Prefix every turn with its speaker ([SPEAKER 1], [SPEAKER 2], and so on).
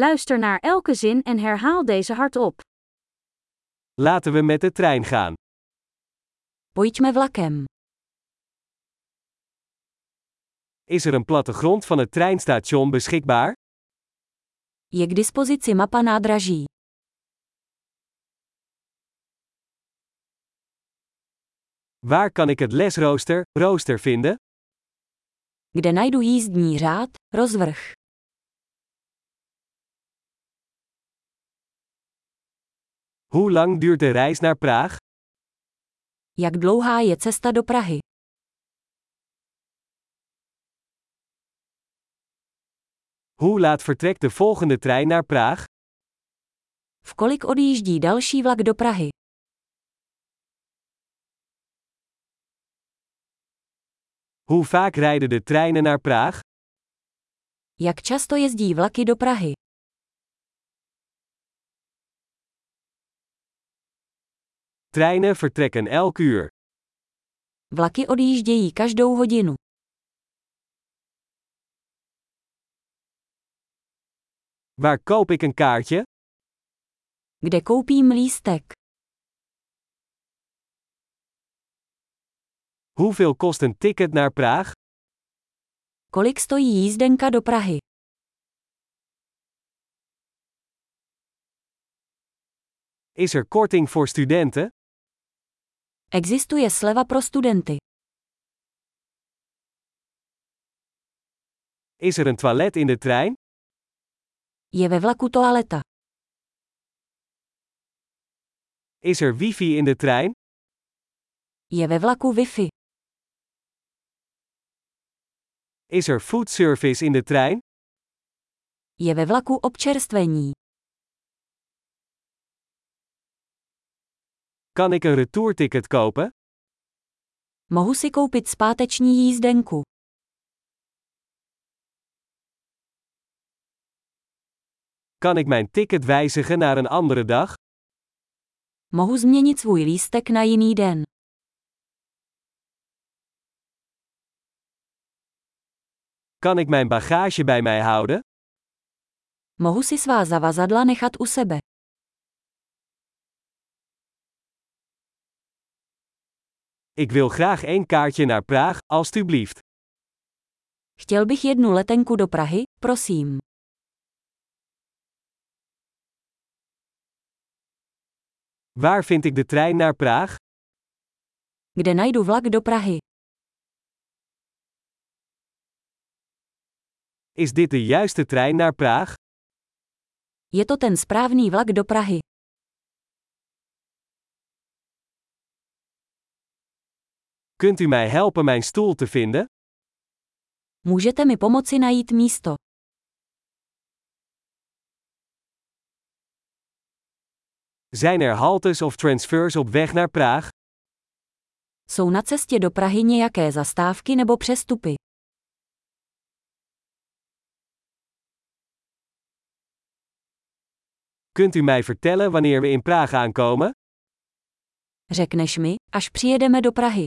[SPEAKER 1] Luister naar elke zin en herhaal deze hardop.
[SPEAKER 2] Laten we met de trein gaan.
[SPEAKER 1] Pojďme vlakem.
[SPEAKER 2] Is er een plattegrond van het treinstation beschikbaar?
[SPEAKER 1] Je k dispozici mapa nádraží.
[SPEAKER 2] Waar kan ik het lesrooster, rooster vinden?
[SPEAKER 1] Kde najdu jízdní řád, rozvrh.
[SPEAKER 2] Hoe lang duurt de reis naar Praag?
[SPEAKER 1] Jak dlouhá je cesta do Prahy?
[SPEAKER 2] Hoe laat vertrekt de volgende trein naar Praag?
[SPEAKER 1] V kolik odjíždí další vlak do Prahy?
[SPEAKER 2] Hoe vaak rijden de treinen naar Praag?
[SPEAKER 1] Jak často jezdí vlaky do Prahy?
[SPEAKER 2] Treinen vertrekken elk uur.
[SPEAKER 1] Vlaky odjíždějí každou hodinu.
[SPEAKER 2] Waar koop ik een kaartje?
[SPEAKER 1] Kde koupím lístek?
[SPEAKER 2] Hoeveel kost een ticket naar Praag?
[SPEAKER 1] Kolik stojí jízdenka do Prahy?
[SPEAKER 2] Is er korting voor studenten?
[SPEAKER 1] Existuje sleva pro studenty.
[SPEAKER 2] Is er een toilet in de trein?
[SPEAKER 1] Je ve vlaku toaleta.
[SPEAKER 2] Is er wifi in de trein?
[SPEAKER 1] Je ve vlaku Wi-Fi.
[SPEAKER 2] Is er foodservice in de trein?
[SPEAKER 1] Je ve vlaku občerstvení.
[SPEAKER 2] Kan ik een retourticket kopen?
[SPEAKER 1] Mohu si koupit zpáteční jízdenku.
[SPEAKER 2] Kan ik mijn ticket wijzigen naar een andere dag?
[SPEAKER 1] Mohu změnit svůj lístek na jiný den.
[SPEAKER 2] Kan ik mijn bagage bij mij houden?
[SPEAKER 1] Mohu si svá zavazadla nechat u sebe.
[SPEAKER 2] Ik wil graag één kaartje naar Praag, alstublieft.
[SPEAKER 1] Chtěl bych jednu letenku do Prahy, prosím.
[SPEAKER 2] Waar vind ik de trein naar Praag?
[SPEAKER 1] Kde najdu vlak do Prahy?
[SPEAKER 2] Is dit de juiste trein naar Praag?
[SPEAKER 1] Je to ten správný vlak do Prahy.
[SPEAKER 2] Kunt u mij helpen mijn stoel te vinden?
[SPEAKER 1] Můžete mi pomoci najít místo.
[SPEAKER 2] Zijn er haltes of transfers op weg naar Praag?
[SPEAKER 1] Jsou na cestě do Prahy nějaké zastávky nebo přestupy?
[SPEAKER 2] Kunt u mij vertellen wanneer we in Praag aankomen?
[SPEAKER 1] Řekneš mi, až přijedeme do Prahy.